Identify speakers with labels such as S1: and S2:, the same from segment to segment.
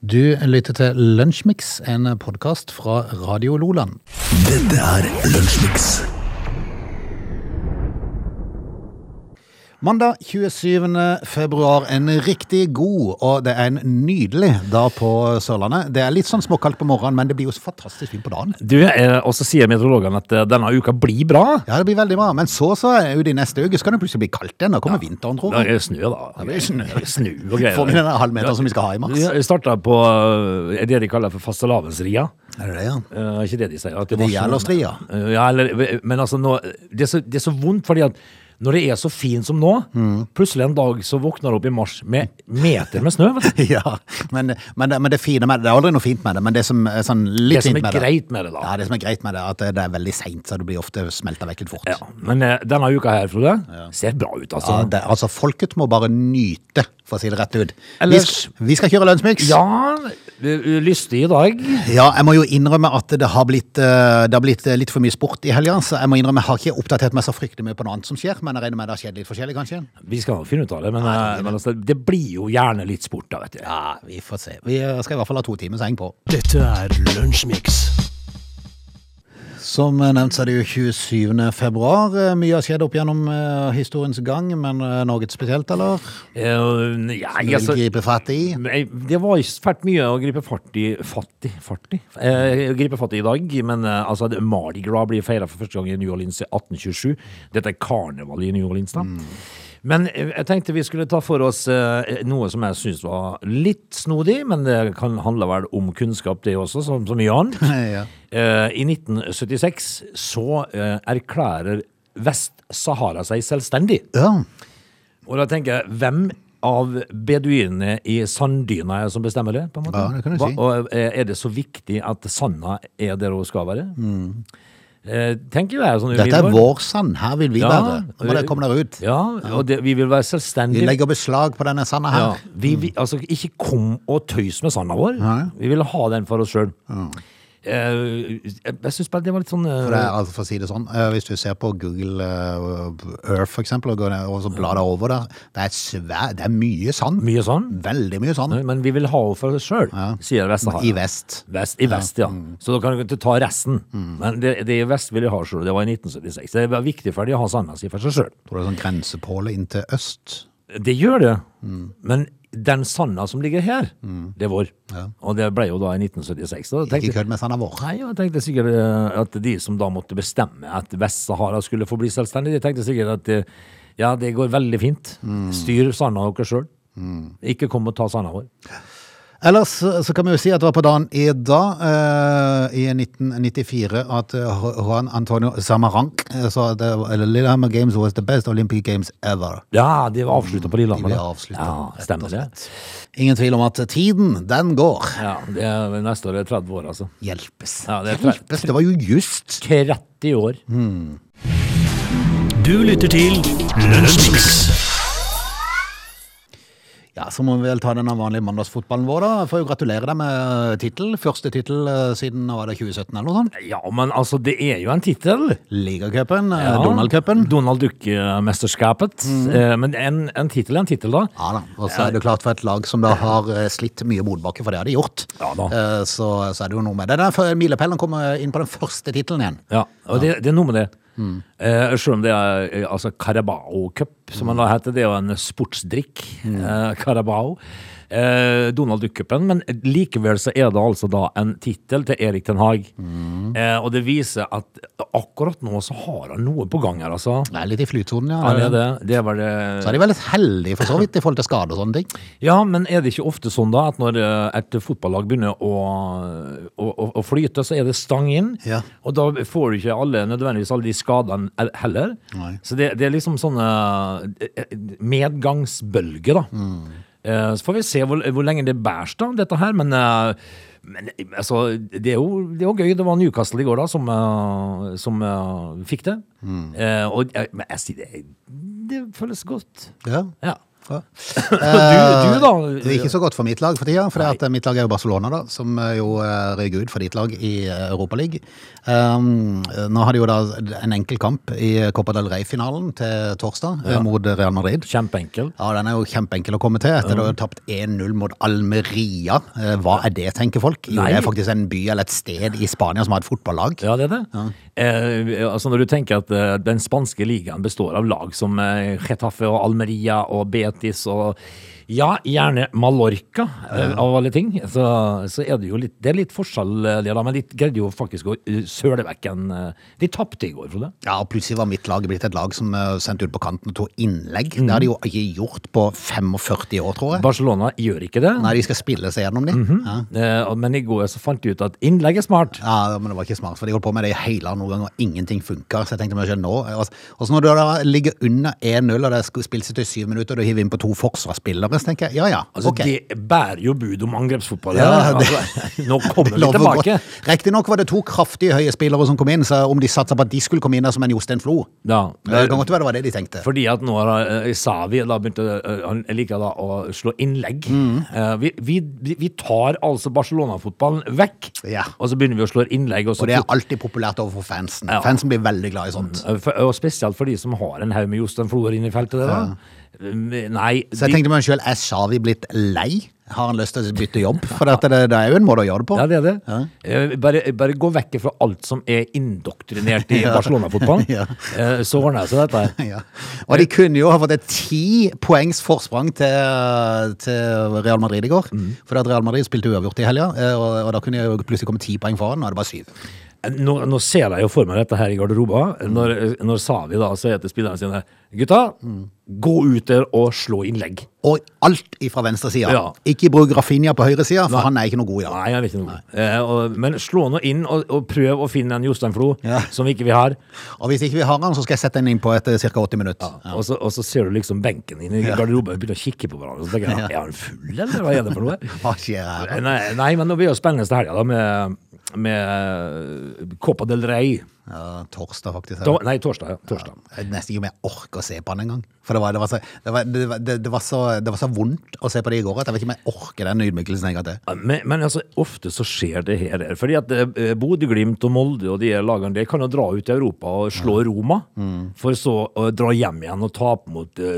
S1: Du lytter til Lunsjmix, en podkast fra Radio Loland.
S2: Dette er Lunsjmix.
S1: Mandag 27. februar, en riktig god og det er en nydelig dag på Sørlandet. Det er litt sånn småkaldt på morgenen, men det blir jo så fantastisk fint på dagen.
S3: Du, eh, Og så sier meteorologene at eh, denne uka blir bra.
S1: Ja, det blir veldig bra. Men så, så er det jo de neste uker, så kan det plutselig bli kaldt igjen. Da kommer vinteren, tror
S3: Da
S1: jeg.
S3: er det snø, da.
S1: det er snø.
S3: snø og greier.
S1: Får vi den der halvmeteren som vi skal ha i mars?
S3: Ja, Jeg starta på eh, det de kaller for fastelavnsria.
S1: Er det det, ja?
S3: Eh, ikke det de sier. at
S1: Det
S3: var
S1: gjelder
S3: snø.
S1: stria.
S3: Eh, Ja, eller, men altså, nå, det, er så, det er så vondt fordi at når det er så fint som nå,
S1: Mm.
S3: plutselig en dag så våkner du opp i mars med meter med snø. vet du.
S1: Ja, men, men, det, men det fine med det, det er aldri noe fint med det, men det som er sånn litt
S3: Det som
S1: fint
S3: er
S1: med det
S3: greit med det, da.
S1: Ja, det som er greit med det, er at det- det er veldig seint, så du blir ofte smelta vekk litt fort.
S3: Ja, men eh, denne uka her, Frode, ser bra ut, altså.
S1: Ja, det, altså Folket må bare nyte, for å si det rett ut.
S3: Ellers-
S1: vi, sk- vi skal kjøre Lunsjmix.
S3: Ja, eh, lystig i dag.
S1: Ja, jeg må jo innrømme at det har blitt, eh, det har blitt eh, litt for mye sport i helga. Så jeg må innrømme, jeg har ikke oppdatert meg så fryktelig mye på noe annet som skjer, men jeg regner med det har skjedd litt forskjellig, kanskje?
S3: Vi skal nok finne ut av det, men, eh, men altså, det blir jo gjerne litt sport, da, vet du.
S1: Ja, vi får se. Vi eh, skal i hvert fall ha to timers heng på.
S2: Dette er Lunsjmix.
S1: Som nevnt så er det jo 27. februar. Eh, Mye har skjedd opp gjennom eh, historiens gang, men eh, noe spesielt, eller?
S3: Eh, ja,
S1: Du vil
S3: altså,
S1: gripe fatt i?
S3: nei, det var ikke fælt mye å gripe fatt i Fattig? Fartig? Eh, gripe fatt i i dag, men eh, altså, det- Mardi Gras blir feira for første gang i New Orleans i 1827. Dette er karnevalet i New Orleans, da. Men eh, jeg tenkte vi skulle ta for oss eh, noe som jeg syns var litt snodig, men det kan handle vel om kunnskap, det også, som så mye annet.
S1: Ja.
S3: Eh, I 1976 så eh, erklærer Vest-Sahara seg selvstendig.
S1: ja.
S3: Og da tenker jeg, hvem av beduinene i sanddyna er det som bestemmer det? på en måte?
S1: Ja, det kan du si.
S3: og eh, er det så viktig at sanda er der hun skal være? Eh, tenker jeg sånn
S1: Dette er
S3: umiddelbart.
S1: vår sand. Her vil vi
S3: Ja.
S1: være. Nå må dere komme dere ut.
S3: Ja, og det, vi vil være
S1: Vi
S3: selvstendige.
S1: legger beslag på denne sanda
S3: ja,
S1: her. Mm.
S3: vi, vi, altså, ikke kom og tøys med sanda vår. Vi vil ha den for oss sjøl. Eh, jeg jeg syns bare det var litt sånn eh,
S1: For, det er, altså, for å si det sånn, eh, Hvis du ser på Google eh, Earth for eksempel, og, går ned, og så blar deg over der, det er, svær, det er mye sand.
S3: mye sånn.
S1: Veldig mye sand.
S3: Men vi vil ha henne for oss sjøl, sier Vest-Sahara.
S1: I vest. Mm.
S3: Vest, I vest, ja. Så da kan du ikke ta resten. Men det, det i vest vil jeg ha sjøl. Det var i 1976. Det var viktig for de å ha sanda si for seg sjøl.
S1: Tror du det er sånn grensepåle inn til øst?
S3: Det gjør det.
S1: Mm.
S3: Men den sanda som ligger her, det er vår. Og det ble jo da i 1976. Da
S1: Ikke
S3: tenkte,
S1: kødd med sanda vår.
S3: nei, jeg tenkte sikkert eh, at de som da måtte bestemme at Vest-Sahara skulle få bli selvstendig, de tenkte sikkert at eh, ja, det går veldig fint.
S1: Mm.
S3: Styr sanda deres sjøl. Ikke kom og ta sanda vår.
S1: Ellers så så kan vi jo si at det var på dagen i dag, eh, i 1994, at eh, Juan Antonio Samaranc eh, sa at eh, Lillehammer Games was the best Olympic Games ever.
S3: Ja, de var avslutta på Lillehammer.
S1: De ble
S3: da.
S1: avsluttet,
S3: ja, stemmer det.
S1: Ingen tvil om at tiden, den går.
S3: Ja, det er, neste år er det 30 år, altså.
S1: Hjelpes.
S3: Ja, det er tre-
S1: Hjelpes, det var jo just.
S3: 30 år.
S1: Mm.
S2: Du lytter til Lunsjmix.
S1: Ja, så må vi vel ta denne vanlige mandagsfotballen vår da. Jeg får jo gratulere deg med tittel. Første tittel eh, siden, nå var det 2017 eller noe sånt.
S3: Ja, men altså, det er jo en tittel.
S1: Ligacupen, eh,
S3: Ja.
S1: Donald-cupen.
S3: Donald Duck-mesterskapet.
S1: Mm.
S3: Eh, Men en, en tittel er en tittel, da.
S1: Ja da, og så er det klart for et lag som da har eh, slitt mye motbakke, for det har de gjort.
S3: Ja da.
S1: Eh, Så, så er det jo noe med det. Der for milepælen kommer inn på den første tittelen igjen.
S3: Ja, og det, det er noe med det. Eh, Selv om det er eh, altså Carabao Cup, som man da heter. Det er jo en sportsdrikk. eh, Carabao. Eh, Donald Duck-cupen. Men likevel så er det altså da en tittel til Erik den Haag. Eh, og det viser at akkurat nå så har han noe på gang her, altså.
S1: Det er litt i flytsonen, ja.
S3: Han er det. Det var det.
S1: Så er de veldig heldige for så vidt i forhold til skade og sånne ting.
S3: Ja, men er det ikke ofte sånn da at når eh, et fotballag begynner å, å, å, å flyte, så er det stang inn?
S1: Ja.
S3: Og da får du ikke alle, nødvendigvis alle de skadene el- heller.
S1: Nei.
S3: Så det, det er liksom sånne eh, medgangsbølger, da. Eh, Så får vi se hvor, hvor lenge det bærs, da, dette her. Men, eh, men eh, altså, det er, jo, det er jo gøy. Det var Newcastle i går da som, eh, som eh, fikk det. Eh, Og jeg, men jeg sier det, det føles godt.
S1: Ja.
S3: Ja.
S1: Ja. Eh,
S3: Du, du da?
S1: Det er ikke så godt for mitt lag for tida, for det at eh, mitt lag er jo Barcelona, da, som eh, jo eh, røyk ut for ditt lag i Europaligaen. Um, nå har de jo da en enkel kamp i Copa del Rey-finalen til torsdag eh, mot Real Madrid.
S3: Kjempeenkel.
S1: Ja, Den er jo kjempeenkel å komme til etter å ha tapt 1-0 mot Almeria. Eh, Hva er det, tenker folk? Jo,
S3: Nei.
S1: det er faktisk en by eller et sted i Spania som har et fotballag.
S3: Ja, det er det. Eh, altså Når du tenker at eh, den spanske ligaen består av lag som eh, Getafe og Almeria og Betis og ja, gjerne Mallorca eh, av alle ting, så, så er det jo litt Det er litt forskjell, eh, der da, men de greide jo faktisk å eh, søle vekk en eh, De tapte i går, Frode.
S1: Ja, og Plutselig var mitt lag blitt et lag som eh, sendte ut på kanten og tok innlegg. Det har de jo ikke gjort på 45 år, tror jeg.
S3: Barcelona gjør ikke det.
S1: Nei, de skal spille seg gjennom de. ja.
S3: Eh, og- men i går så fant de ut at innlegg er smart.
S1: ja, men det var ikke smart, for de holdt på med det i hele noen ganger, og ingenting funka. Så jeg tenkte, men ikke nå. Altså, Og så når du da ligger under 1-0, og det skulle spilles til syv minutter, og du hiver inn på to forsvarsspillere, så tenker jeg ja ja,
S3: Altså,
S1: ok.
S3: Det bærer jo bud om angrepsfotball.
S1: Ja,
S3: det, altså, nå kommer vi
S1: Lover godt.
S3: tilbake.
S1: Riktignok var det to kraftige høye spillere som kom inn, så om de satsa på at de skulle komme inn der som en Jostein Flo
S3: Ja,
S1: Det kan godt være det var det de tenkte.
S3: Fordi at nå har eh, Savi da begynt å eh, Han liker da å slå innlegg.
S1: Mm.
S3: Eh, vi, vi, vi tar altså Barcelona-fotballen vekk,
S1: Ja.
S3: og så begynner vi å slå innlegg. Og, så
S1: Og det er alltid populært overfor fansen.
S3: Ja.
S1: Fansen blir veldig glad i sånt.
S3: Eh, for, og spesielt for de som har en haug med Jostein Floer inne i feltet. Der, da. Eh, Nei,
S1: Så jeg
S3: de-
S1: tenkte med meg sjøl, er Shawi blitt lei? Har han lyst til å bytte jobb? For dette, det, det er jo en måte å gjøre det på.
S3: Ja, det er det. Eh, Bare, bare gå vekk fra alt som er indoktrinert i Barcelona-fotballen,
S1: Ja.
S3: eh, så ordner det seg dette. her.
S1: Ja. Og de kunne jo ha fått et ti poengs forsprang til, til Real Madrid i går.
S3: Mm.
S1: For at Real Madrid spilte uavgjort i helga, eh, og, og da kunne de jo plutselig komme ti poeng foran. Nå er det bare syv.
S3: Nå, nå ser jeg jo for meg dette her i garderoba. Når, når Savi da sier til spillerne sine Gutta, gå ut der og slå innlegg.
S1: Og alt ifra venstresida.
S3: Ja.
S1: Ikke bruk Rafinha på høyresida, for han er ikke noe god i dag.
S3: Nei, jeg vet ikke noe. Eh, og, men slå nå inn, og, og prøv å finne en Jostein Flo
S1: Ja.
S3: som ikke vi har.
S1: Og hvis ikke vi har han, så skal jeg sette han inn på eh, etter ca. 80 minutter. Ja.
S3: Og, så, og så ser du liksom benken din i garderoben og begynner å kikke på hverandre. Så tenker jeg, Er han full, eller hva er det for noe? Eh,
S1: Hva skjer her?
S3: Nei, nei, men det blir jo spennende til helga, da, med, med Copa del Rey.
S1: Ja, torsdag, faktisk.
S3: Da, nei, torsdag. Ja, torsdag.
S1: Jeg vet nesten ikke om jeg orker å se på han engang. For det var, det, var så, det, var, det, var, det, det, var så, det var så vondt å se på det i går at jeg vet ikke om jeg orker den ydmykelsen en gang til.
S3: Ja, Men, men altså, ofte så skjer det her. her, Fordi at eh, Bodø, Glimt og Molde og de her lagene der kan jo dra ut i Europa og slå Roma, for så å dra hjem igjen og tape mot uh,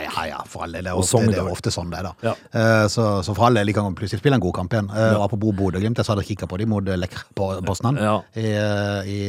S1: Mm. Ja, ja, ja, for alle. Det er
S3: Og
S1: ofte, det er
S3: Sogndal.
S1: ofte sånn det er, da.
S3: Ja.
S1: Eh, så, så for alle de kan plutselig spille en god kamp igjen. Eh, og apropos Bodø-Glimt, jeg så hadde kikka på dem mot eh, Lech Bo- Poznan
S3: Ja.
S1: i, eh, i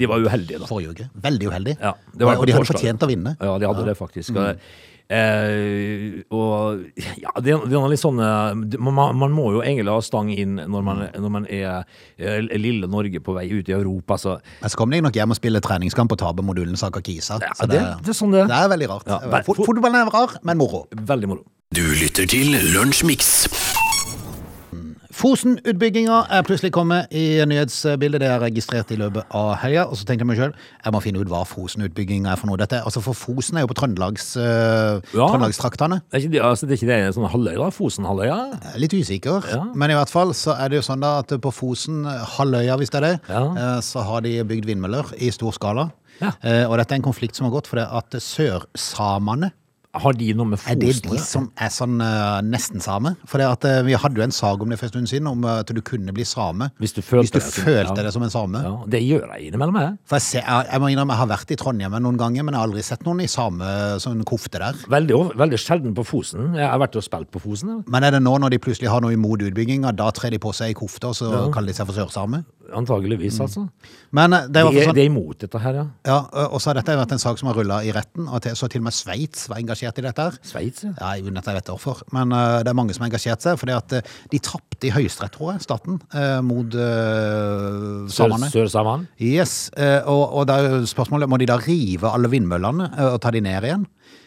S3: De var uheldige, da.
S1: forrige uke. Veldig uheldig.
S3: Ja, det var
S1: og,
S3: på
S1: og de hadde
S3: torsdag.
S1: fortjent å vinne.
S3: Ja, de hadde det faktisk. Og,
S1: Mm.
S3: eh, og ja, det, det er litt sånn eh, det- man, man må jo egentlig ha stang inn når man,
S1: Mm.
S3: når man er eh, lille Norge på vei ut i Europa, så
S1: Men så kom de nok hjem og spiller treningskamp og taper mot Ullensaker Kisa.
S3: Ja,
S1: Så
S3: det- det er sånn det er.
S1: Det er veldig rart.
S3: Ja,
S1: Fot- Fotballen er rar, men moro.
S3: veldig moro.
S2: Du lytter til Lunsjmix.
S1: Fosen-utbygginga er plutselig kommet i nyhetsbildet. Det er registrert i løpet av helga. Og så tenkte jeg meg sjøl jeg må finne ut hva Fosen-utbygginga er for noe. Dette, er- altså For Fosen er jo på Trøndelags, eh,
S3: Ja.
S1: Trøndelagstraktene.
S3: Det er ikke det, altså, det, er ikke det sånn halvøy, da? Fosen-halvøya?
S1: Jeg er Litt usikker,
S3: Ja.
S1: men i hvert fall så er det jo sånn da at på Fosen, halvøya hvis det er det,
S3: Ja.
S1: eh, så har de bygd vindmøller i stor skala.
S3: Ja.
S1: Eh, Og dette er en konflikt som har gått fordi at sørsamene
S3: Har de noe med
S1: Er
S3: Fosen
S1: det
S3: å
S1: de
S3: gjøre?
S1: som er sånn eh, nesten same? For det at, eh, vi hadde jo en sag om det for en stund siden, om eh, at du kunne bli same
S3: Hvis du følte
S1: du
S3: deg som-
S1: følte
S3: ja.
S1: deg som en same.
S3: Ja, det gjør jeg innimellom, jeg.
S1: For jeg, ser, jeg, jeg må innrømme, jeg har vært i Trondheim noen ganger, men jeg har aldri sett noen i same sånn kofte der.
S3: Veldig, of- veldig sjelden på Fosen. Jeg har vært og spilt på Fosen. jeg.
S1: Men er det nå når de plutselig har noe imot utbygginga, da trer de på seg i kofte, og så kaller de seg for sørsame?
S3: Antageligvis,
S1: Mm.
S3: altså.
S1: Men eh, det
S3: De
S1: er i hvert
S3: er,
S1: fall
S3: de
S1: sånn,
S3: er imot dette her, ja.
S1: ja, og så har dette vært en sak som har rulla i retten, og til, så til og med Sveits var engasjert i dette her.
S3: Sveits, ja.
S1: Ja, jeg vet ikke jeg vet hvorfor, men eh, det er mange som har engasjert seg, fordi at eh, de tapte i Høyesterett, tror jeg, staten, eh, mot uh,
S3: Sør-
S1: samene.
S3: Sør-Samene.
S1: Yes, eh, og, og da er jo spørsmålet, må de da rive alle vindmøllene eh, og ta de ned igjen?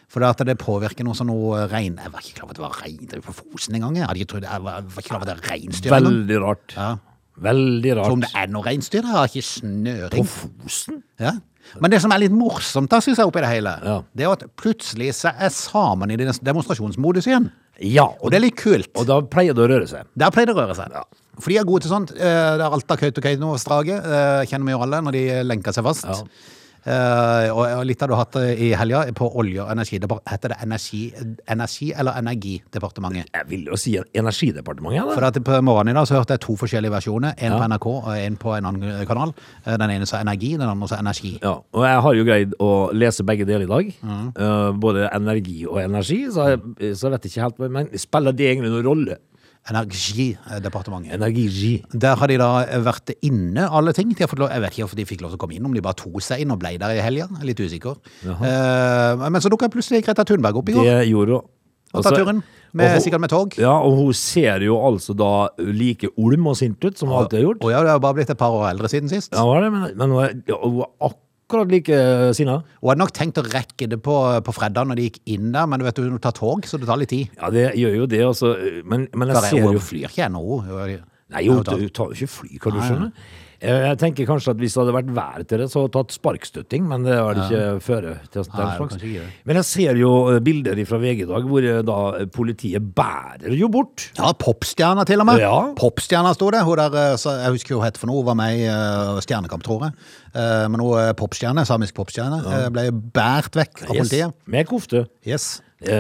S1: For det at det påvirker noe sånn noe regn... Jeg var ikke klar over at det var regn det var på Fosen engang. Jeg, hadde ikke trodd- jeg var jeg var ikke klar over at det er reinsdyr. engang.
S3: Veldig rart.
S1: Ja.
S3: Veldig
S1: Så
S3: rart.
S1: om det er noe reinsdyr, jeg har ikke snøring.
S3: Fosen?
S1: Ja. Men det som er litt morsomt, da synes jeg oppi det hele,
S3: Ja.
S1: det er jo at plutselig så er samene i den demonstrasjonsmodus igjen.
S3: Ja,
S1: Og det er litt kult.
S3: og da pleier det å røre seg.
S1: Der pleier det å røre seg. For de er gode til sånt. Eh, Det er Alta, Kautokeino og Strage. eh, Kjenner vi jo alle når de lenker seg fast. Eh, og, og litt har du hatt det i helga på Olje- og energidepartementet. Heter det energi, energi eller Energidepartementet?
S3: Jeg vil jo si Energidepartementet,
S1: For
S3: da.
S1: at på morgenen i dag så hørte jeg to forskjellige versjoner. En på NRK og en på en annen kanal. Eh, Den ene sa energi, den andre sa energi.
S3: Ja, og jeg har jo greid å lese begge deler i dag.
S1: Mm.
S3: Eh, både energi og energi, så jeg, så jeg vet ikke helt Men spiller det egentlig noen rolle?
S1: Energidepartementet.
S3: Energi.
S1: Der har de da vært inne, alle ting. De har fått lov, jeg vet ikke hvorfor de fikk lov til å komme inn, om de bare tok seg inn og ble der i helga. Jeg er Litt usikker. Eh, men så dukka plutselig Greta Thunberg opp i går.
S3: Det gjorde hun.
S1: Og tatt
S3: Altså-
S1: turen. Med,
S3: og hun-
S1: sikkert med tog.
S3: Ja, og hun ser jo altså da like olm og sint ut som hun alltid har gjort.
S1: Og ja, det har bare blitt et par år eldre siden sist.
S3: Ja, hun er det, men, men hun, er, ja, hun er akkurat like eh, sinna.
S1: Hun hadde nok tenkt å rekke det på, på fredag når de gikk inn der, men du vet, hun tar tog, så det tar litt tid.
S3: Ja, det gjør jo det, altså. Men, men jeg
S1: For
S3: ser
S1: hun
S3: jo
S1: flyr ikke ennå. hun. Hun-
S3: Nei, jo,
S1: hun tar-
S3: du tar jo ikke fly, kan du skjønne. Eh, Jeg tenker kanskje at hvis det hadde vært været til det, så hadde jeg tatt sparkstøtting, men det var det ikke føre til den
S1: Nei,
S3: slags.
S1: kanskje ikke det.
S3: Men jeg ser jo eh, bilder fra VG i dag hvor eh, da eh, politiet bærer jo bort.
S1: Ja, popstjerna til og med.
S3: Ja.
S1: Popstjerna sto det. Hun der, eh, så- jeg husker jo hva hun het for noe, hun var med i eh, Stjernekamp, tror jeg. Eh, Men hun er popstjerne, samisk popstjerne, eh, ble båret vekk av
S3: Yes,
S1: politiet.
S3: Med kofte.
S1: Yes.
S3: Eh,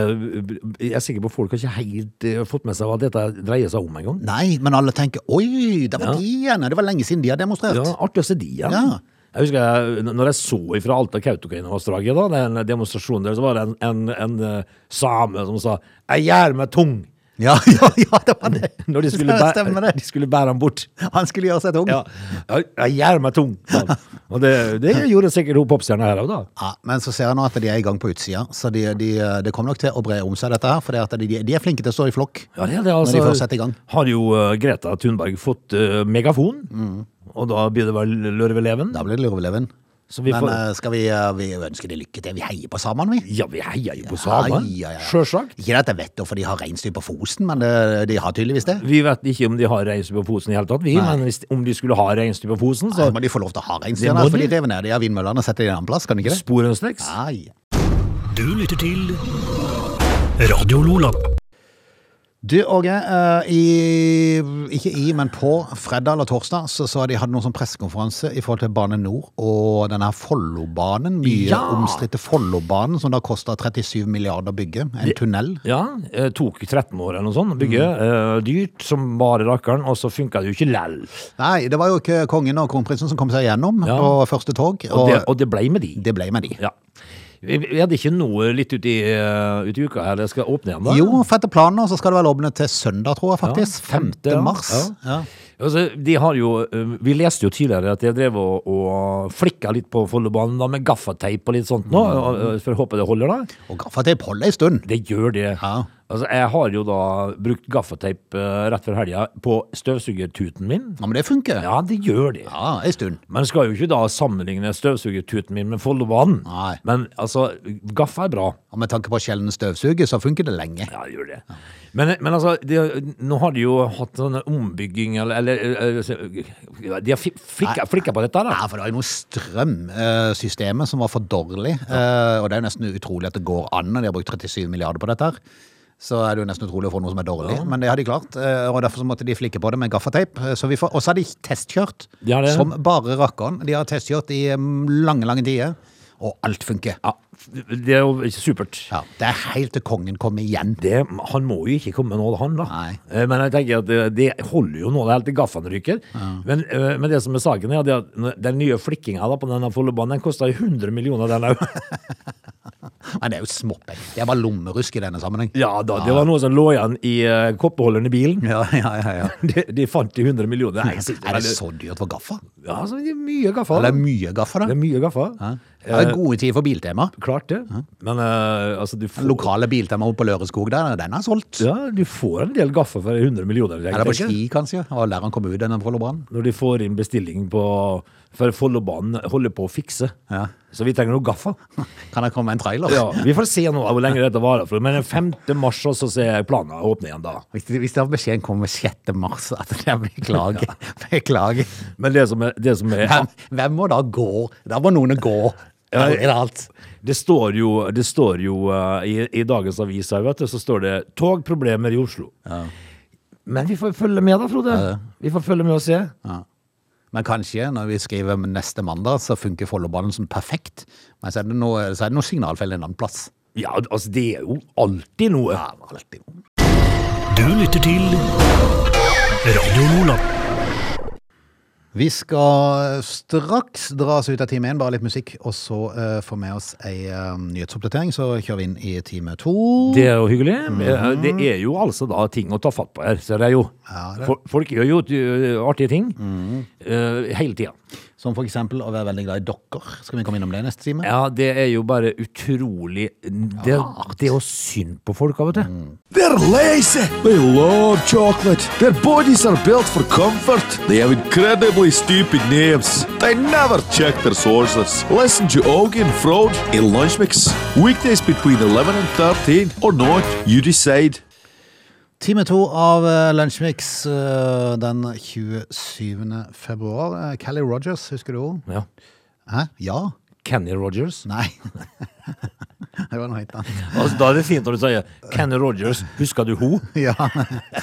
S3: Jeg er sikker på at folk har ikke helt eh, fått med seg hva dette dreier seg om engang.
S1: Nei, men alle tenker, oi, det var de igjen. Det var lenge siden de har demonstrert.
S3: Ja, artig å se de igjen.
S1: Ja.
S3: Jeg husker jeg, når jeg så ifra Alta Kautokeino-vassdraget, da, den demonstrasjonen der, så var det en, en, en eh, same som sa 'Jeg gjør meg tung'
S1: Ja, ja, ja, det var det.
S3: når de skulle,
S1: Det stemmer
S3: bære,
S1: det.
S3: de skulle bære han bort.
S1: Han skulle gjøre seg tung.
S3: Ja, «Jeg- 'Jeg gjør meg tung'. sa han. Og det, det gjorde sikkert hun popstjerna her òg, da.
S1: Ja, men så ser jeg nå at de er i gang på utsida, så de, de, eh, det kommer nok til å bre om seg dette her. For det at de, de er flinke til å stå i flokk.
S3: Ja, det er det,
S1: Når de først setter i gang.
S3: Har jo eh, Greta Thunberg fått eh, megafon,
S1: Mm.
S3: og da blir det vel Lørveleven.
S1: Da blir det lurveleven.
S3: Så vi
S1: Men
S3: får-
S1: eh, skal vi, eh, vi ønsker de lykke til. Vi heier på samene, vi.
S3: Ja, vi heier jo på samene.
S1: Ja, ja, ja.
S3: Sjølsagt.
S1: Ikke at jeg vet hvorfor de har reinsdyr på Fosen, men det, de har tydeligvis det.
S3: Vi vet ikke om de har reinsdyr på Fosen i hele tatt, vi, men hvis, om de skulle ha reinsdyr på Fosen,
S1: Så
S3: så
S1: må de få lov til å ha
S3: Det
S1: reinsdyr
S3: må
S1: der, for
S3: de.
S1: de rev ned de av vindmøllene og setter de en annen plass, kan de ikke det?
S3: sporenstreks.
S1: Nei.
S2: Du lytter til Radio Lola.
S1: Du, Åge. eh, I, ikke i, men på fredag eller torsdag så, så de hadde noen sånn pressekonferanse i forhold til Bane Nor og denne her Follobanen. Mye
S3: Ja!
S1: omstridte Follobanen, som da kosta 37 milliarder å bygge. En tunnel.
S3: Ja, eh, tok 13 år eller noe sånt å bygge.
S1: Mm.
S3: Eh, dyrt som bare rakkeren, og så funka det jo ikke lell.
S1: Nei, det var jo ikke kongen og kronprinsen som kom seg gjennom
S3: Ja.
S1: på første tog.
S3: Og,
S1: Og,
S3: det- og det blei med de.
S1: det ble med de.
S3: Ja. Vi, vi hadde ikke noe litt ut i, eh, ut i uka her, det skal åpne igjen da?
S1: Jo, for etter planen nå så skal det vel åpne til søndag, tror jeg faktisk. 5.
S3: femte, ja.
S1: mars. Ja.
S3: Altså, de har jo, eh, vi leste jo tidligere at de drev og, og flikka litt på Follobanen da, med gaffateip og litt sånt nå,
S1: Mm.
S3: og, og, for å håpe det holder da.
S1: Og gaffateip holder ei stund.
S3: Det gjør det.
S1: Ja.
S3: Altså, jeg har jo da brukt gaffateip eh, rett før helga på støvsugertuten min.
S1: Ja, men det funker.
S3: Ja, det gjør det.
S1: Ja, ei stund.
S3: Man skal jo ikke da sammenligne støvsugertuten min med Follobanen.
S1: Nei.
S3: Men altså, gaffa er bra.
S1: Og med tanke på sjelden støvsuger, så funker det lenge.
S3: Ja, det gjør det. Men, men altså, de, nå har de jo hatt sånne ombygging, eller, eller, eller De har fi- flikka, flikka på dette, da.
S1: Ja, for det var jo noe strømsystemet som var for dårlig. eh, Og det er jo nesten utrolig at det går an når de har brukt 37 milliarder på dette her. Så er det jo nesten utrolig å få noe som er dårlig. Men det har de klart. eh, Og derfor så måtte de flikke på det med gaffateip. Eh, så vi får- Og så har de testkjørt
S3: Ja, det-
S1: som bare rakkeren. De har testkjørt i mm, lange, lange tider. Og alt funker.
S3: Ja, det er jo supert.
S1: Ja, det er helt til kongen kommer igjen.
S3: Det, han må jo ikke komme nå, han da.
S1: Nei.
S3: Eh, Men jeg tenker at eh, det holder jo nå det helt til gaffene ryker. Men, eh, men det som er saken, er det at den nye flikkinga da på denne Follobanen, den kosta 100 millioner, den òg.
S1: Men det er jo småpenger. Det er bare lommerusk i denne sammenheng.
S3: Ja da, det var noe som lå igjen i eh, koppeholderen i bilen.
S1: Ja, ja, ja. ja.
S3: De, de fant de 100 millioner. Det er jeg sikker
S1: Er det
S3: på.
S1: så dyrt for gaffa?
S3: Ja, altså, det er mye gaffa.
S1: Eller mye gaffa, da?
S3: Det er mye gaffa.
S1: Ja, det er gode tider for biltema.
S3: Klart det. Men eh, altså, du får,
S1: Lokale biltema oppe på Løreskog der, den er solgt.
S3: ja, du får en del gaffa for 100 millioner. jeg
S1: Eller på
S3: tenker.
S1: ski, kanskje. Og der han kom ut, den Follobrannen.
S3: Når de får inn bestilling på For Follobanen holder på å fikse.
S1: Ja.
S3: Så vi trenger noe gaffa.
S1: Kan det komme en trailer?
S3: Ja, vi får se nå hvor lenge dette varer. For. Men den 5. mars så ser jeg planen åpne igjen da.
S1: Hvis, hvis den beskjeden kommer 6. mars, at det beklager, beklager.
S3: Men det som er, det som er
S1: Hvem, hvem må da gå? Da må noen gå. Ja, det er alt.
S3: Det står jo, det står jo eh, i, i dagens avis her, vet du, så står det 'Togproblemer i Oslo'. Men vi får følge med da, Frode. Vi får følge med og se.
S1: Men kanskje når vi skriver om neste mandag, så funker Follobanen som perfekt. Men så er det noe, så er det noe signalfeil en annen plass.
S3: Ja, altså, det er jo alltid noe.
S1: Ja, alltid.
S2: Du lytter til Radio Lola.
S1: Vi skal straks dra oss ut av time én, bare litt musikk, og så eh, få med oss ei eh, nyhetsoppdatering. Så kjører vi inn i time to.
S3: Det er jo hyggelig. Eh, Det er jo altså da ting å ta fatt på her, ser jeg jo.
S1: Ja, det-
S3: For- Folk gjør jo eh, artige ting eh, hele tida.
S1: Som for eksempel å være veldig glad i dokker. Skal vi komme innom det i neste time?
S3: Ja, det er jo bare utrolig Det, det er jo synd på folk av og til.
S4: They're lazy. They love chocolate. Their bodies are built for comfort. They have incredibly stupid names. They never check their sources. Listen to Augie and Frode in Lunch Mix. Weekdays between 11 and 13 or not, you decide.
S1: Time to av eh, Lunsjmix eh, den 27. februar. Eh, Kelly Rogers, husker du henne?
S3: Ja.
S1: Hæ? Ja?
S3: Kenny Rogers.
S1: Nei. det var noe helt annet.
S3: Altså, da er det fint når du sier 'Kenny Rogers, husker du ho?
S1: Ja,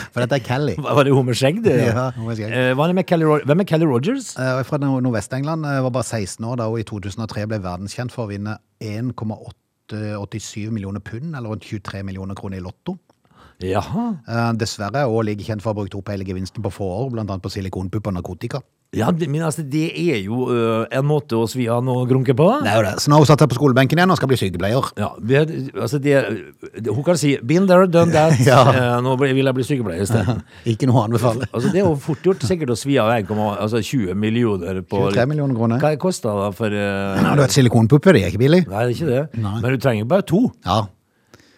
S1: for dette er Kelly.
S3: Var var det hun med skjegg? det?
S1: Ja, hun med skjegg.
S3: Eh, hva er det med Kelly Ro- Hvem er Kelly Rogers?
S1: Eh, og er fra Nord- Nordvest-England. eh, Var bare 16 år da hun i 2003 ble verdenskjent for å vinne 1,87 millioner pund, eller rundt 23 millioner kroner i Lotto.
S3: Jaha.
S1: Eh, Dessverre er hun like kjent for å ha brukt opp hele gevinsten på få år, blant annet på silikonpupp og narkotika.
S3: Ja, det- men altså, det er jo eh, en måte å svi av noe grunke på.
S1: Det er jo det. Så nå har hun satt seg på skolebenken igjen og skal bli sykepleier.
S3: Ja, vi er, altså det, det, hun kan si 'been there, done that'.
S1: Ja.
S3: Eh, nå ble- vil jeg bli sykepleier isteden.
S1: Ikke noe å anbefale.
S3: Altså, det er jo fort gjort sikkert å svi av 1, altså 20 millioner på
S1: 23 millioner kroner.
S3: Hva det koster det for eh,
S1: Nå har du et silikonpuppe, det er ikke billig.
S3: Nei, det er ikke det.
S1: Nei.
S3: Men du trenger bare to.
S1: Ja.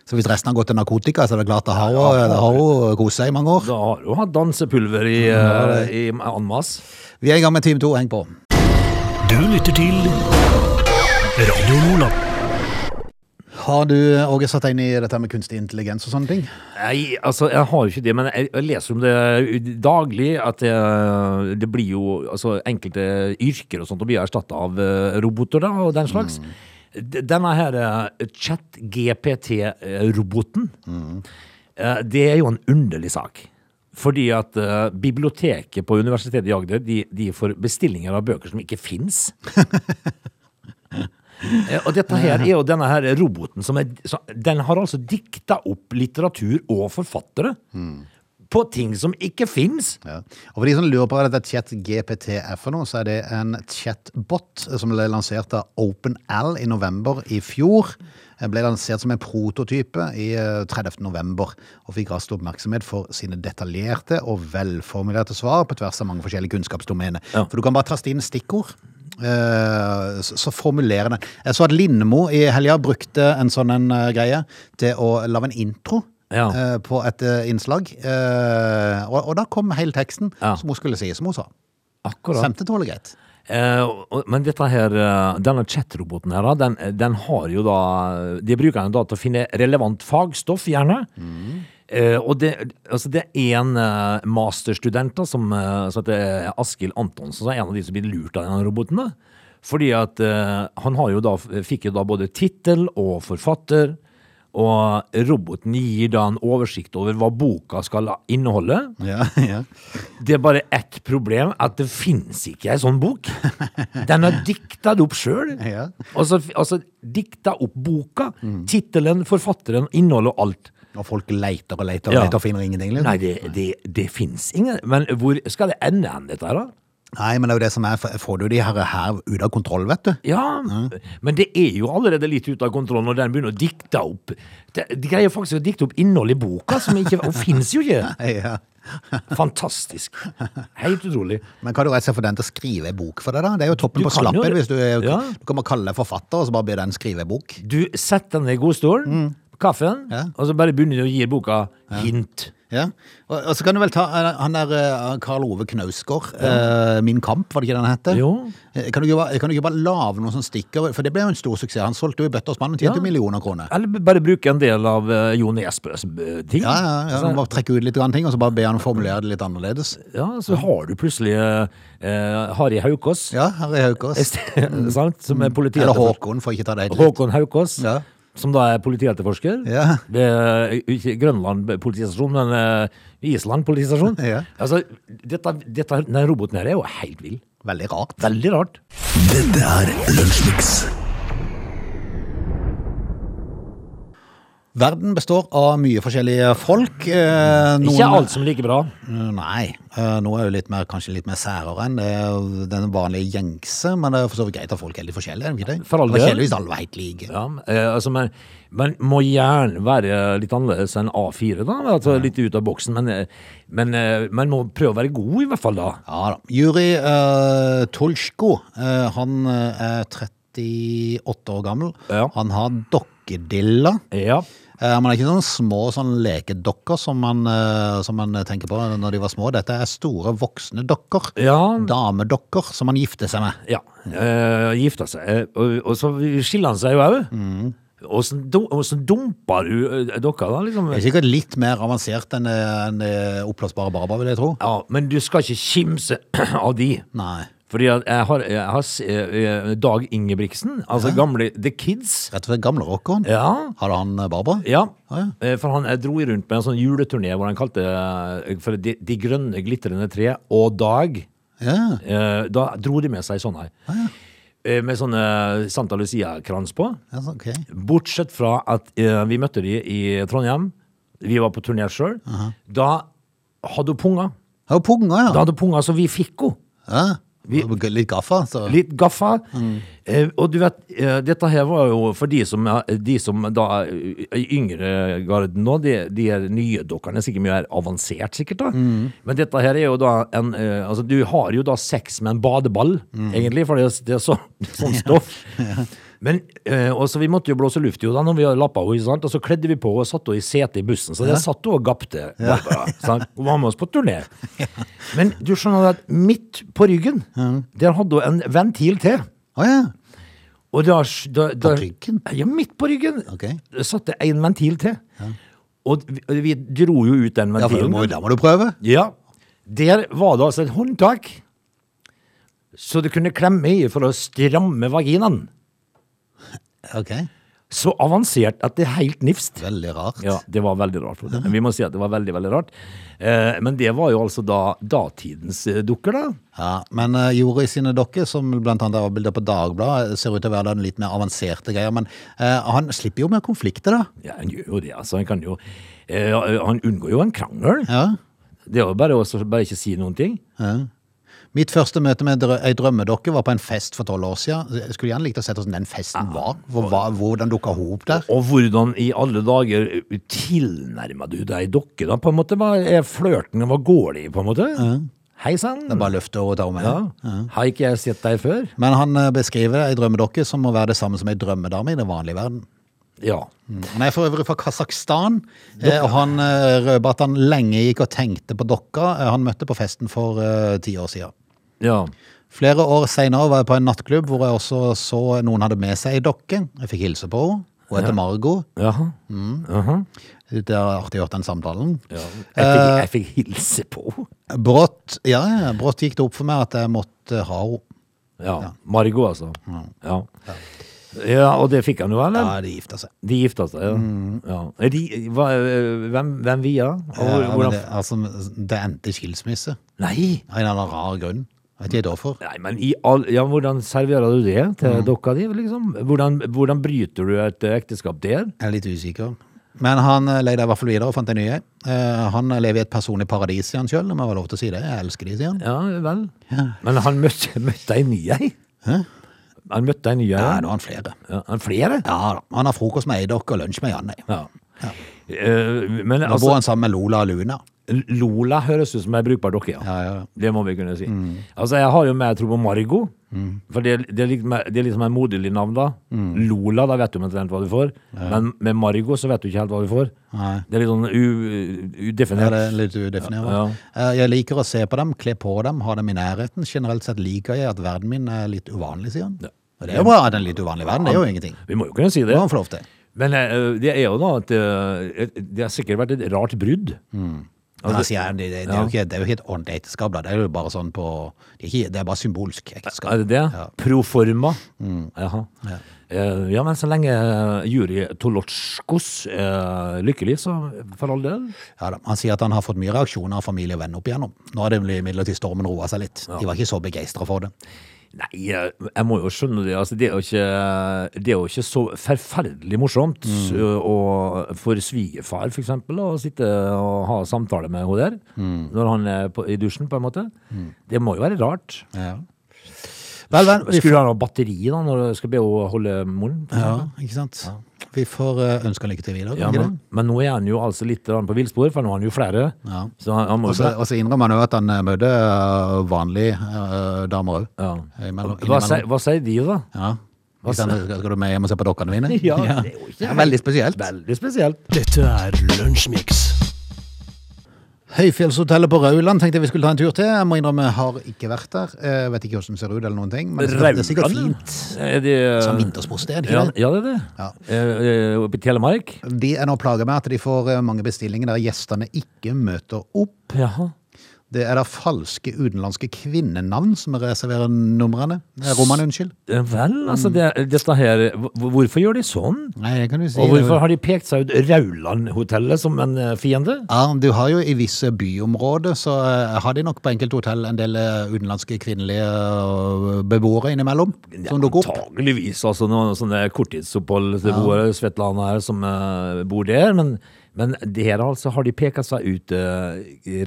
S1: Så hvis resten har gått til narkotika, så er det klart det har hun- det har hun kost seg i mange år.
S3: Da har du hatt dansepulver i, uh, i anmas.
S1: Vi er i gang med Team 2, heng på.
S2: Du lytter til Radio Lola.
S1: Har du, Åge, satt deg inn i dette med kunstig intelligens og sånne ting?
S3: Nei, altså, jeg har jo ikke det, men jeg, jeg leser om det daglig, at det, det blir jo altså, enkelte yrker og sånt, og blir erstattet av eh, roboter da, og den slags. D- Denne her eh, chat-GPT-roboten, eh, det er jo en underlig sak. Fordi at eh, biblioteket på Universitetet i Agder, de, de får bestillinger av bøker som ikke finnes. Eh, Og dette her er jo denne her roboten som er så, Den har altså dikta opp litteratur og forfattere på ting som ikke fins.
S1: Ja. Og for de som lurer på hva dette chat-GPT er for noe, så er det en chatbot som ble lansert av OpenAL i november i fjor. Den ble lansert som en prototype i eh, 30. november, og fikk raskt oppmerksomhet for sine detaljerte og velformulerte svar på tvers av mange forskjellige kunnskapsdomener.
S3: Ja.
S1: For du kan bare taste inn stikkord. eh, Så så formulerer den. Jeg så at Lindmo i helga brukte en sånn en eh, greie til å lage en intro
S3: Ja.
S1: eh, på et eh, innslag. eh, og, og da kom hele teksten
S3: Ja.
S1: som hun skulle si, som hun sa.
S3: Akkurat.
S1: Stemte tåler greit.
S3: Eh, og- og- men dette her, eh, denne chatroboten her, da, den, eh, den har jo da De bruker den da til å finne relevant fagstoff, gjerne. Eh, og det, altså det er en eh, masterstudent da, som, eh, som heter Askild Antonsen, som er en av de som blir lurt av denne roboten. da. Fordi at eh, han har jo da, fikk jo da både tittel og forfatter, og roboten gir da en oversikt over hva boka skal inneholde.
S1: Ja, ja.
S3: Det er bare ett problem, at det finnes ikke ei sånn bok. Den er dikta opp sjøl.
S1: Ja.
S3: Altså, altså dikta opp boka. Tittelen, forfatteren, innholdet og alt.
S1: Og folk leiter og leiter og
S3: Ja.
S1: leiter og finner ingenting. Liksom.
S3: Nei, det, det, det fins ingen. Men hvor skal det ende hen, dette her, da?
S1: Nei, men det er jo det som er, f- får du de her, her ut av kontroll, vet du.
S3: Ja, men det er jo allerede litt ute av kontroll når den begynner å dikte opp De, de greier faktisk å dikte opp innholdet i boka, som ikke Og fins jo ikke!
S1: Ja.
S3: Fantastisk. Helt utrolig.
S1: Men kan du rett og slett få den til å skrive en bok for deg, da? Det er jo toppen
S3: Du
S1: på
S3: kan jo
S1: slappen.
S3: det.
S1: Hvis du, er,
S3: Ja.
S1: du kan bare kalle deg forfatter, og så bare blir den skrive en bok.
S3: Du setter deg ned i godstolen, kaffen,
S1: Mm. Ja.
S3: og så bare begynner du å gi boka hint.
S1: Ja. Og, og så kan du vel ta eh, han der eh, Karl Ove Knausgård. eh, Min kamp, var det ikke den heter?
S3: Jo.
S1: Eh, Kan du ikke bare, kan du ikke bare lage noen sånne stikker? For det ble jo en stor suksess. Han solgte jo i bøtter og spann. Han tjente
S3: Ja.
S1: millioner kroner.
S3: Eller b- bare bruke en del av eh, Jo Nesbøs eh, ting.
S1: Ja, ja, ja.
S3: Så,
S1: Bare trekke ut litt grann ting, og så bare be han formulere det litt annerledes.
S3: ja, så har du plutselig eh, eh, Harry Haukås,
S1: Ja, Harry Haukås.
S3: sant? som er
S1: Eller
S3: politietterforsker.
S1: Håkon, for ikke ta det helt likt.
S3: Håkon Haukås,
S1: Ja.
S3: som da er politietterforsker.
S1: Ja.
S3: Ved eh, ikke Grønland politistasjon, men eh, Island politistasjon.
S1: Ja.
S3: Altså, dette, dette, denne roboten her er jo helt vill.
S1: Veldig rart.
S3: Veldig rart.
S2: Dette er Lunsjmix.
S1: Verden består av mye forskjellige folk. eh, Noen,
S3: Ikke alt som er like bra.
S1: Nei. eh, Noe er jo litt mer, kanskje litt mer særere enn det- den vanlige gjengse, men det er for så vidt greit at folk er litt forskjellige. er det Ikke det?
S3: For all
S1: det er
S3: del.
S1: kjedelig hvis alle var helt like.
S3: Ja, eh, altså, men, men må gjerne være litt annerledes enn A4, da. Altså, litt ut av boksen, men, eh, men eh, man må prøve å være god, i hvert fall da.
S1: Ja da. Juri uh, Tolsjko, eh, han eh, er 38 år gammel.
S3: Ja.
S1: Han har dokkedilla.
S3: Ja.
S1: Eh, men det er ikke sånne små sånn lekedokker som man, eh, som man tenker på når de var små. Dette er store voksne dokker.
S3: Ja.
S1: Damedokker som han gifter seg med.
S3: ja. Eh, gifta seg. Eh, og, og så skiller han seg jo òg. Åssen dum- åssen dumper du eh, dere, da? liksom?
S1: Det er sikkert litt mer avansert enn eh, enn, eh, oppblåsbare barber, vil jeg tro.
S3: Ja, men du skal ikke kimse av de.
S1: Nei.
S3: Fordi at jeg har, jeg har s- eh, eh, Dag Ingebrigtsen, altså gamle The Kids.
S1: Rett og slett gamle rockeren.
S3: Ja,
S1: Hadde han eh, barber?
S3: Ja,
S1: Ah,
S3: eh, for han eh, dro jo rundt med en sånn juleturné hvor han kalte eh, for De, de grønne glitrende tre og Dag.
S1: Ja.
S3: Eh, Da dro de med seg sånn her. Eh, Med sånne Santa Lucia-krans på.
S1: ja så- ok.
S3: Bortsett fra at eh, vi møtte de i Trondheim. Vi var på turné sjøl. Da hadde hun punga.
S1: Ja, og punga,
S3: Da
S1: ja.
S3: hadde hun punga, så vi fikk henne.
S1: ja. Litt gaffa, så.
S3: Litt gaffa. Eh, og du vet, eh, dette her var jo for de som, er- de som da er i yngre garden nå, de, de er nye dokkerne, sikkert mye er avansert sikkert da. Men dette her er jo da en, eh, altså du har jo da sex med en badeball, egentlig, for det er, det er så, sånn stoff. Men, eh, og så vi måtte jo blåse luft i henne da, når vi hadde lappa henne, sant? og så kledde vi på og satt henne i setet i bussen, så det satt hun og gapte, Barbara, sant? Hun var med oss på turné. Men du skjønner at midt på ryggen, der hadde hun en ventil til.
S1: Å ja.
S3: Og da, da, da,
S1: ryggen?
S3: Ja, midt på ryggen.
S1: Ok.
S3: Det satt det en ventil til. Og vi, vi dro jo ut den
S1: ja for du
S3: ventilen.
S1: må, da må du prøve.
S3: Ja. Der var det altså et håndtak, så du kunne klemme i for å stramme vaginaen.
S1: Ok.
S3: Så avansert at det er helt nifst.
S1: Veldig rart.
S3: Ja, det var veldig rart. Frode. Vi må si at det var veldig, veldig rart. Eh, men det var jo altså da datidens eh, dukker, da.
S1: Ja, men uh, Jori sine dokker, som blant annet var bilder på Dagbladet, eh, ser ut til å være den litt mer avanserte greia, men eh, han slipper jo med konflikter da.
S3: Ja, han gjør jo det, altså. Han kan jo eh, Han unngår jo en krangel.
S1: Ja.
S3: Det er jo bare å så bare ikke si noen ting.
S1: Mitt første møte med drø ei drømmedokke var på en fest for tolv år siden. Jeg skulle gjerne likt å sett hvordan den festen
S3: Ah,
S1: var, hvor, hva, hvordan dukket hun opp der.
S3: Og hvordan i alle dager tilnærma du deg dokke, da? På en måte, hva er flørten? Hva går det i, på en måte? Hei sann.
S1: Det er bare løftet og ta henne med.
S3: Ja. Har ikke jeg sett deg før?
S1: Men han eh, beskriver ei drømmedokke som må være det samme som ei drømmedame i den vanlige verden.
S3: Ja.
S1: Han er for øvrig fra Kasakhstan, eh, og han eh, røper at han lenge gikk og tenkte på dokka eh, han møtte på festen for eh, ti år siden.
S3: Ja.
S1: Flere år senere var jeg på en nattklubb hvor jeg også så noen hadde med seg ei dokke. Jeg fikk hilse på henne. Hun heter Margo.
S3: Jaha.
S1: Det er artig å høre den samtalen.
S3: Ja. Jeg,
S1: Eh.
S3: fikk, jeg fikk hilse på henne.
S1: Brått, ja, ja, brått gikk det opp for meg at jeg måtte ha henne.
S3: Ja. Margot, altså. Ja. ja. Og det fikk han jo,
S1: Da
S3: eller?
S1: de gifta seg.
S3: De gifta seg, ja. ja. Er De, hva, hvem, hvem via? Og
S1: Ja,
S3: hvor-
S1: men
S3: hvordan-
S1: det, altså, det endte i skilsmisse.
S3: Nei!
S1: Av en eller annen rar grunn. Vet ikke hvorfor.
S3: Nei, men i all, ja, hvordan serverer du det til dokka di, liksom? Hvordan, hvordan bryter du et eh, ekteskap der?
S1: Jeg er litt usikker. Men han eh, leide i hvert fall videre og fant en ny. Eh, Han lever i et personlig paradis, sier han sjøl. Det må være lov til å si det. Jeg elsker de, sier han.
S3: Ja, vel. Men han møtte, møtte ei ny ei. Han møtte ei ny ei.
S1: Nei, nå har han flere.
S3: Ja, han flere?
S1: Ja da. Han har frokost med ei dokke og lunsj med ei annen.
S3: Ja. Eh, men
S1: Nå bor
S3: altså,
S1: han sammen med Lola og Luna.
S3: Lola høres ut som ei brukbar dokke, ja.
S1: Ja, ja, ja.
S3: Det må vi kunne si.
S1: Mm.
S3: Altså, jeg har jo mer tro på Margot. For det, det, er litt mer- det er liksom et moderlig navn, da.
S1: Mm.
S3: Lola, da vet du omtrent hva du får. Men med Margot så vet du ikke helt hva du får.
S1: Nei.
S3: Det er litt sånn u,
S1: Ja,
S3: udefinert.
S1: det er litt udefinerbart.
S3: Ja.
S1: Eh, Jeg liker å se på dem, kle på dem, ha dem i nærheten. Generelt sett liker jeg at verden min er litt uvanlig, sier han. Og det er jo bra at en litt uvanlig verden, det er jo ingenting.
S3: Vi må jo kunne si
S1: Det
S3: det.
S1: må han få lov til.
S3: Men eh, det er jo da at eh, et- det har sikkert vært et rart brudd.
S1: Men altså, jeg, det, det, er jo ikke, det er jo ikke et ordentlig ekteskap, da. Det er jo bare sånn på Det er, ikke, det er bare symbolsk ekteskap.
S3: Er det det?
S1: Ja. Mm.
S3: Proforma? Jaha. Eh, ja, men så lenge eh, Juri Tolotskos er lykkelig, så for all del.
S1: Ja, da. Han sier at han har fått mye reaksjoner av familie og venner opp igjennom. Nå har det imidlertid stormen roa seg litt. De var ikke så begeistra for det.
S3: Nei, jeg, jeg må jo skjønne det. Altså, det, er jo ikke, det er jo ikke så forferdelig morsomt
S1: Mm.
S3: ø, å- for svigerfar, for eksempel, å sitte og ha samtale med henne der,
S1: Mm.
S3: når han er på, i dusjen, på en måte. Det må jo være rart.
S1: Ja. Vel, vel, vi
S3: Skulle han ha batteri da, når du skal be henne holde moren? for
S1: Ja,
S3: eksempel?
S1: ikke sant? Vi får eh, ønske han lykke til videre.
S3: Ja,
S1: ikke
S3: men,
S1: det?
S3: men nå er han jo altså litt grann på villspor, for nå har han jo flere.
S1: Ja.
S3: Så han, han må
S1: Og
S3: jo
S1: så
S3: være-
S1: og så innrømmer han jo at han eh, møter eh, vanlige eh, damer òg.
S3: ja.
S1: Imellom-
S3: hva, sier,
S1: innimellom.
S3: hva sier de, da?
S1: Ja. Ikke sant? Skal skal du med hjem og se på dokkene mine?
S3: det er jo ikke
S1: Det er veldig spesielt.
S3: Veldig spesielt.
S2: Dette er Lunsjmix.
S1: Høyfjellshotellet på Rauland tenkte jeg vi skulle ta en tur til. Jeg må innrømme, jeg har ikke vært der. Eh, vet ikke hvordan det ser ut eller noen ting. Men det er sikkert- det er sikkert
S3: Rauland?
S1: fint.
S3: Er eh, det-
S1: Som vintersportsted, ikke
S3: Ja,
S1: det?
S3: ja, det er det.
S1: Ja.
S3: Eh, eh, Oppe i Telemark?
S1: De er nå plaga med at de får eh, mange bestillinger der gjestene ikke møter opp.
S3: Jaha.
S1: Det er da falske utenlandske kvinnenavn som reserverer numrene. Eh, Rommene, unnskyld.
S3: Eh, Vel, altså,
S1: Mm.
S3: det, dette her hvor- Hvorfor gjør de sånn?
S1: Nei, det kan du si.
S3: Og hvorfor har de pekt seg ut Rauland-hotellet som en eh, fiende?
S1: Ja, du har jo i visse byområder, så eh, har de nok på enkelte hotell en del eh, utenlandske kvinnelige eh, beboere innimellom, som dukker opp.
S3: Antageligvis, altså noen sånne korttidsoppholdsboere, eh, Svetlana her, som eh, bor der. Men, men det her altså, har de peka seg ut eh,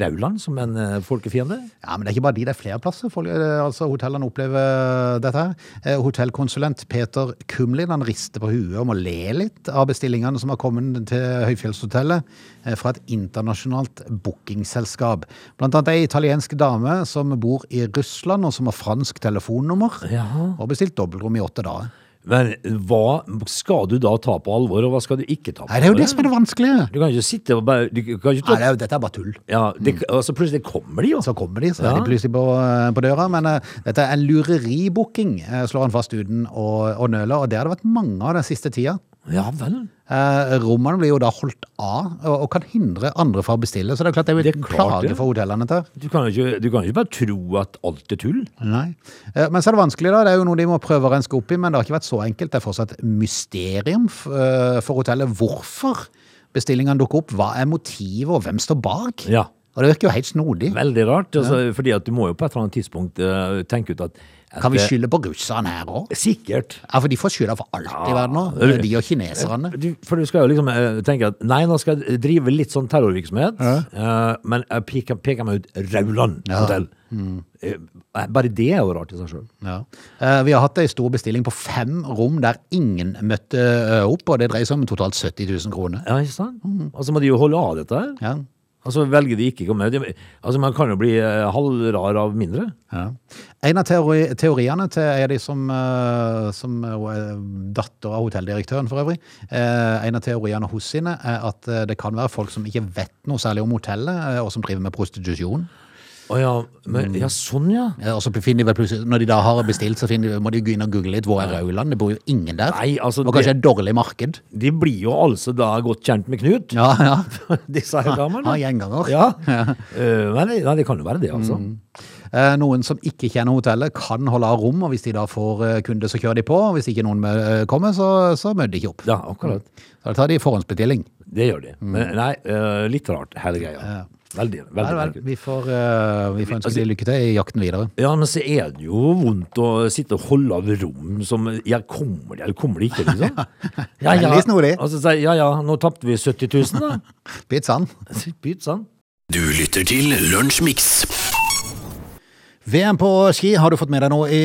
S3: Rauland som en eh, folkefiende?
S1: Ja, men det er ikke bare de, det er flere plasser. Folk, eh, altså, hotellene opplever dette her. Eh, Hotellkonsulent Peter Kumlin, han rister på huet om å le litt av bestillingene som har kommet til Høyfjellshotellet eh, fra et internasjonalt bookingselskap. Blant annet ei italiensk dame som bor i Russland og som har fransk telefonnummer.
S3: Jaha.
S1: Og bestilt dobbeltrom i åtte dager.
S3: Men hva skal du da ta på alvor, og hva skal du ikke ta på
S1: Nei, det er jo det
S3: alvor?
S1: som er det vanskelige.
S3: Du kan ikke sitte og bare Du kan ikke
S1: Nei,
S3: ta
S1: det er Mm. jo, dette er bare tull.
S3: Ja, det, altså plutselig kommer de jo.
S1: Så kommer de, så er
S3: Ja.
S1: de plutselig på, eh, på døra. Men eh, dette er en lureribooking, eh, slår han fast uten å, å nøle. Og det har det vært mange av den siste tida.
S3: Ja vel.
S1: Eh, rommene blir jo da holdt av, og, og kan hindre andre fra å bestille. Så det er klart det er jo
S3: Det er
S1: en
S3: klart
S1: plage
S3: det.
S1: for hotellene. Dette.
S3: Du kan jo ikke, du kan jo ikke bare tro at alt er tull.
S1: Nei. Eh, Men så er det vanskelig, da. Det er jo noe de må prøve å renske opp i, men det har ikke vært så enkelt. Det er fortsatt et mysterium f- eh, for hotellet hvorfor bestillingene dukker opp. Hva er motivet, og hvem står bak?
S3: Ja.
S1: Og det virker jo helt snodig.
S3: Veldig rart. Altså, Fordi at du må jo på et eller annet tidspunkt eh, tenke ut at, at
S1: Kan vi
S3: eh,
S1: skylde på russerne her òg?
S3: Sikkert.
S1: Ja, for de får skylda for alt i verden nå.
S3: Ja.
S1: De og kineserne.
S3: Du, for du skal jo liksom eh, tenke at nei, nå skal jeg drive litt sånn terrorvirksomhet, eh, men jeg peker, peker meg ut Rauland hotell. Eh, bare det er jo rart i seg sjøl.
S1: Ja. Eh, Vi har hatt ei stor bestilling på fem rom der ingen møtte eh, opp, og det dreier seg om totalt 70 000 kroner.
S3: Ja, ikke sant? Og så må de jo holde av dette her.
S1: Ja.
S3: Og så velger de ikke å komme. De- Altså, man kan jo bli eh, halvrar av mindre.
S1: Ja. En av teori teoriene til en av de som, eh, som eh, hun er datter av hotelldirektøren for øvrig, eh, en av teoriene hos sine er at eh, det kan være folk som ikke vet noe særlig om hotellet, eh, og som driver med prostitusjon.
S3: Å ja, men, ja, sånn ja.
S1: Eh, Og så finner de vel plutselig, når de da har bestilt, så finner de, må de gå inn og google litt hvor er Rauland, det bor jo ingen der.
S3: Nei, altså,
S1: og kanskje et dårlig marked.
S3: De blir jo altså da godt kjent med Knut,
S1: Ja, ja.
S3: disse her damene.
S1: Ha gjenganger.
S3: Ah, Ja. Eh, men det- nei, det kan jo være det, altså.
S1: Eh, Noen som ikke kjenner hotellet, kan holde av rom, og hvis de da får eh, kunde, så kjører de på. og Hvis ikke noen eh, kommer, så, så møter de ikke opp.
S3: Ja, akkurat.
S1: Så da tar de forhåndsbestilling.
S3: Det gjør de. Men nei, eh, litt rart, hele greia. Veldig, veldig
S1: Vel, vel,
S3: merkelig.
S1: vi får, eh, vi får ønske
S3: Altså-
S1: de lykke til i jakten videre.
S3: Ja, men så er det jo vondt å sitte og holde av rom som Ja, kommer de, eller kommer de ikke, liksom? Ja, ja.
S1: Veldig snodig.
S3: Og så sier jeg, ja ja, nå tapte vi 70 000, da.
S1: Pizzaen.
S3: Pytt sann.
S2: Du lytter til Lunsjmix.
S1: VM på ski har du fått med deg nå i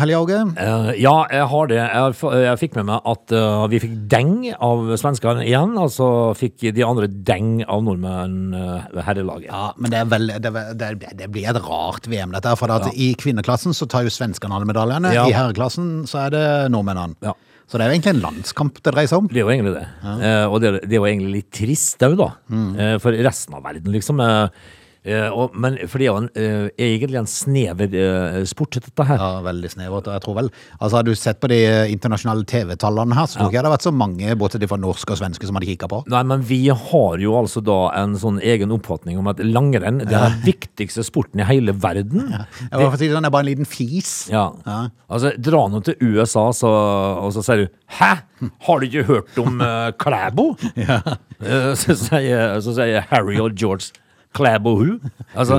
S1: helga, Åge?
S3: Eh, ja, jeg har det. Jeg, f- jeg fikk med meg at eh, vi fikk deng av svenskene igjen. Altså fikk de andre deng av nordmenn eh, ved herrelaget.
S1: Ja, men det, er vel, det, er vel- det, er- det blir et rart VM, dette. her, For at i kvinneklassen så tar jo svenskene alle medaljene.
S3: Ja.
S1: I herreklassen så er det nordmennene.
S3: Ja.
S1: Så det er jo egentlig en landskamp det dreier seg om.
S3: Det er jo egentlig det.
S1: Mm.
S3: Eh, og det, er- det er jo egentlig litt trist òg, da. Eh, for resten av verden, liksom. eh, Eh, og, men for det er jo en, eh, egentlig en snever eh, sport, dette her.
S1: Ja, veldig snevert. og Jeg tror vel, altså Hadde du sett på de eh, internasjonale TV-tallene her, så tror ikke jeg det hadde vært så mange, bortsett fra norske og svenske, som hadde kikka på.
S3: Nei, men vi har jo altså da en sånn egen oppfatning om at langrenn det er den viktigste sporten i hele verden.
S1: Jeg, var for å si det sånn, jeg er bare en liten fis.
S3: Ja. Altså, dra nå til USA, så, og så sier du 'hæ, har du ikke hørt om eh, Klæbo?' Eh, så, sier, så sier Harry og George 'Klæbo who?' Altså,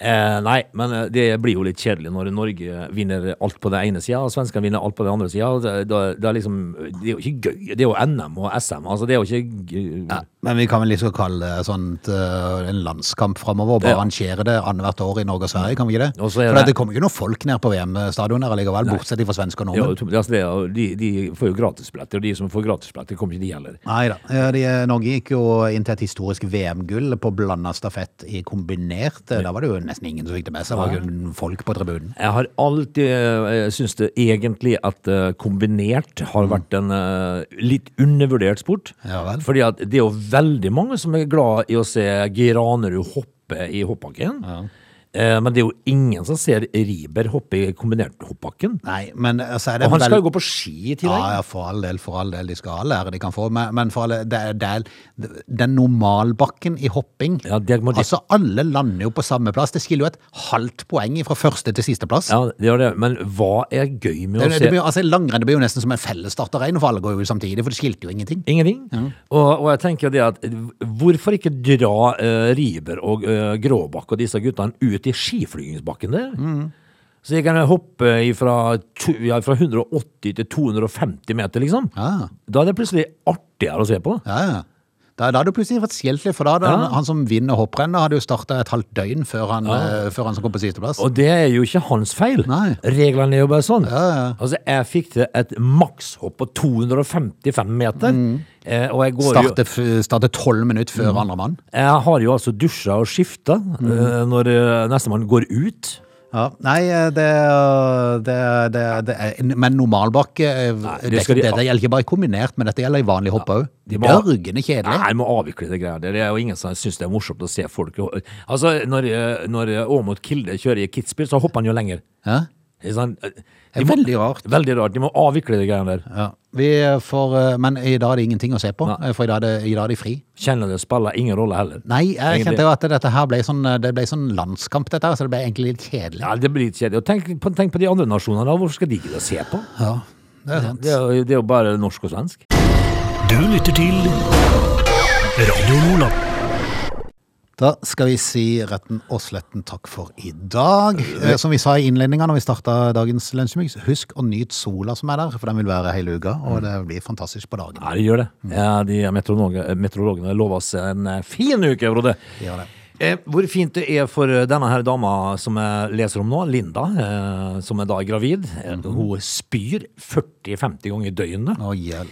S3: eh, nei, men eh, det blir jo litt kjedelig når Norge vinner alt på den ene sida, og svenskene vinner alt på den andre sida. Det, det, det, er liksom, det er jo ikke gøy. Det er jo NM og SM. Altså, det er jo ikke gøy.
S1: Men vi kan vel liksom kalle det sånt, eh, en landskamp framover. Bare
S3: Ja.
S1: arrangere det annethvert år i Norge og Sverige, kan vi ikke det?
S3: Og så er
S1: For
S3: det-
S1: det kommer jo ikke noe folk ned på VM-stadion her likevel, bortsett fra svenske og
S3: Ja,
S1: nordmenn.
S3: det er altså det, og de, de får jo gratisbilletter, og de som får gratisbilletter, kommer ikke de heller.
S1: Nei da. eh, Norge gikk jo inn til et historisk VM-gull på blanda stafett i kombinert. Da var det jo nesten ingen som fikk det med seg. Det var kun folk på tribunen.
S3: Jeg har alltid eh, syntes det egentlig at eh, kombinert har vært en eh, litt undervurdert sport.
S1: Ja vel.
S3: Fordi at det er jo veldig mange som er glad i å se Giranerud hoppe i hoppbakken. Eh, Men det er jo ingen som ser Riber hoppe i kombinert-hoppbakken.
S1: Nei, men eh, så er det
S3: Og han skal
S1: vel-
S3: jo gå på ski i tillegg.
S1: Ja, ja, for all del, for all del. De skal ha lære de kan få. Men, men for all del, det er, det er, den normalbakken i hopping
S3: Ja, det må de-
S1: Altså, alle lander jo på samme plass. Det skiller jo et halvt poeng fra første til siste plass.
S3: Ja, det gjør det. Men hva er gøy med
S1: Det,
S3: å
S1: det,
S3: se
S1: blir, jo- altså, Langrenn det blir jo nesten som en fellesstarterregn, for alle går jo samtidig, for det skilte jo ingenting.
S3: Ingenting. Og, og jeg tenker det at hvorfor ikke dra eh, Riiber og eh, Gråbakk og disse guttene ut i skiflygingsbakken der?
S1: Mm.
S3: Så jeg kan hoppe fra, ja, fra 180 til 250 meter, liksom.
S1: Ja.
S3: Da er det plutselig artigere å se på.
S1: Ja, ja. Da, da hadde du plutselig vært skjeltlig, for da hadde han, han som vinner hopprennet, hadde jo starta et halvt døgn før han, eh, før han som kom på sisteplass.
S3: Og det er jo ikke hans feil.
S1: Nei.
S3: Reglene er jo bare sånn.
S1: ja.
S3: Altså, jeg fikk til et makshopp på 255 meter.
S1: Mm.
S3: Eh, og jeg går jo Mm.
S1: Starte f- Starte tolv minutter før andre mann.
S3: Jeg har jo altså dusja og skifta
S1: Mm.
S3: eh, når eh, nestemann går ut.
S1: Ja, nei, eh, det, eh, det, det, det er, Men normalbakke eh,
S3: det
S1: det,
S3: skal de-
S1: det, det gjelder ikke bare i kombinert, men dette gjelder i vanlig hopp òg.
S3: de
S1: det er
S3: må-
S1: Dørgende kjedelig.
S3: Nei, jeg må avvikle det greia der. Det er jo ingen som syns det er morsomt å se folk Altså, når, eh, når eh, Aamodt Kilde kjører i Kitzbühel, så hopper han jo lenger.
S1: Ja?
S3: Ikke sant? Eh,
S1: Det
S3: de
S1: er
S3: må-
S1: veldig rart.
S3: Veldig rart. De må avvikle de greiene der.
S1: Ja. Vi får, eh, men i dag er det ingenting å se på,
S3: Nei.
S1: eh, for i dag er det, i dag er det fri.
S3: Kjenner det spiller ingen rolle heller.
S1: Nei, jeg
S3: Egentlig-
S1: kjente jo at dette her ble sånn, eh, det ble sånn landskamp, dette her, så det ble egentlig litt kjedelig.
S3: Ja, det blir litt kjedelig. Og tenk på, tenk på de andre nasjonene, da. Hvorfor skal de gidde å se på?
S1: Ja, det er sant.
S3: Det er, jo- det er jo bare norsk og svensk.
S2: Du lytter til Radio Lola.
S1: Da skal vi si retten og sletten takk for i dag. Eh, Som vi sa i innledninga når vi starta dagens lunsjmix, husk å nyte sola som er der, for den vil være hele uka, og
S3: Mm.
S1: det blir fantastisk på dagen.
S3: Ja, de gjør det.
S1: Mm.
S3: Ja, de meteorologe- meteorologene lover oss en eh, fin uke, Frode.
S1: De gjør det.
S3: Eh, Hvor fint det er for eh, denne her dama som jeg leser om nå, Linda, eh, som er da gravid. Eh,
S1: Mhm.
S3: Hun spyr 40-50 ganger i døgnet.
S1: Å, hjelp.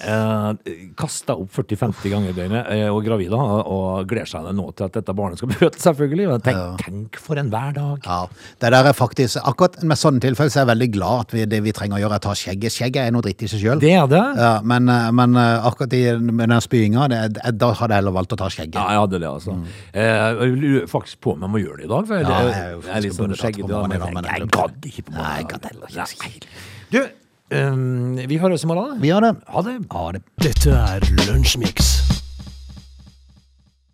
S3: Eh, Kasta opp 40-50 ganger i døgnet eh, og gravid, da, og gleder seg nå til at dette barnet skal bli født, selvfølgelig. Men tenk, tenk for en hverdag.
S1: Ja, det der er faktisk, akkurat med sånne tilfeller så er jeg veldig glad at vi, det vi trenger å gjøre er å ta skjegget. Skjegget er noe dritt i seg selv.
S3: Det er det.
S1: Ja, men, eh, men eh, akkurat i, med den spyinga, det, er- da hadde jeg heller valgt å ta skjegget.
S3: Ja, jeg hadde det, altså. Eh, jeg lurer faktisk på om jeg må gjøre det i dag. For jeg,
S1: Mm. Ja,
S3: jeg,
S1: jeg er jo
S3: jeg er litt
S1: faktisk
S3: sånn
S1: burde tatt på
S3: skjeggete.
S1: morgenen i dag, men
S3: men Jeg jeg
S1: jeg
S3: gadd ikke på morgenen.
S1: Nei, jeg gadd heller ikke.
S3: Nei. Du, eh, vi høres i morgen.
S1: Vi gjør det.
S3: Ha det.
S1: Ha det.
S2: Dette er Lunsjmix.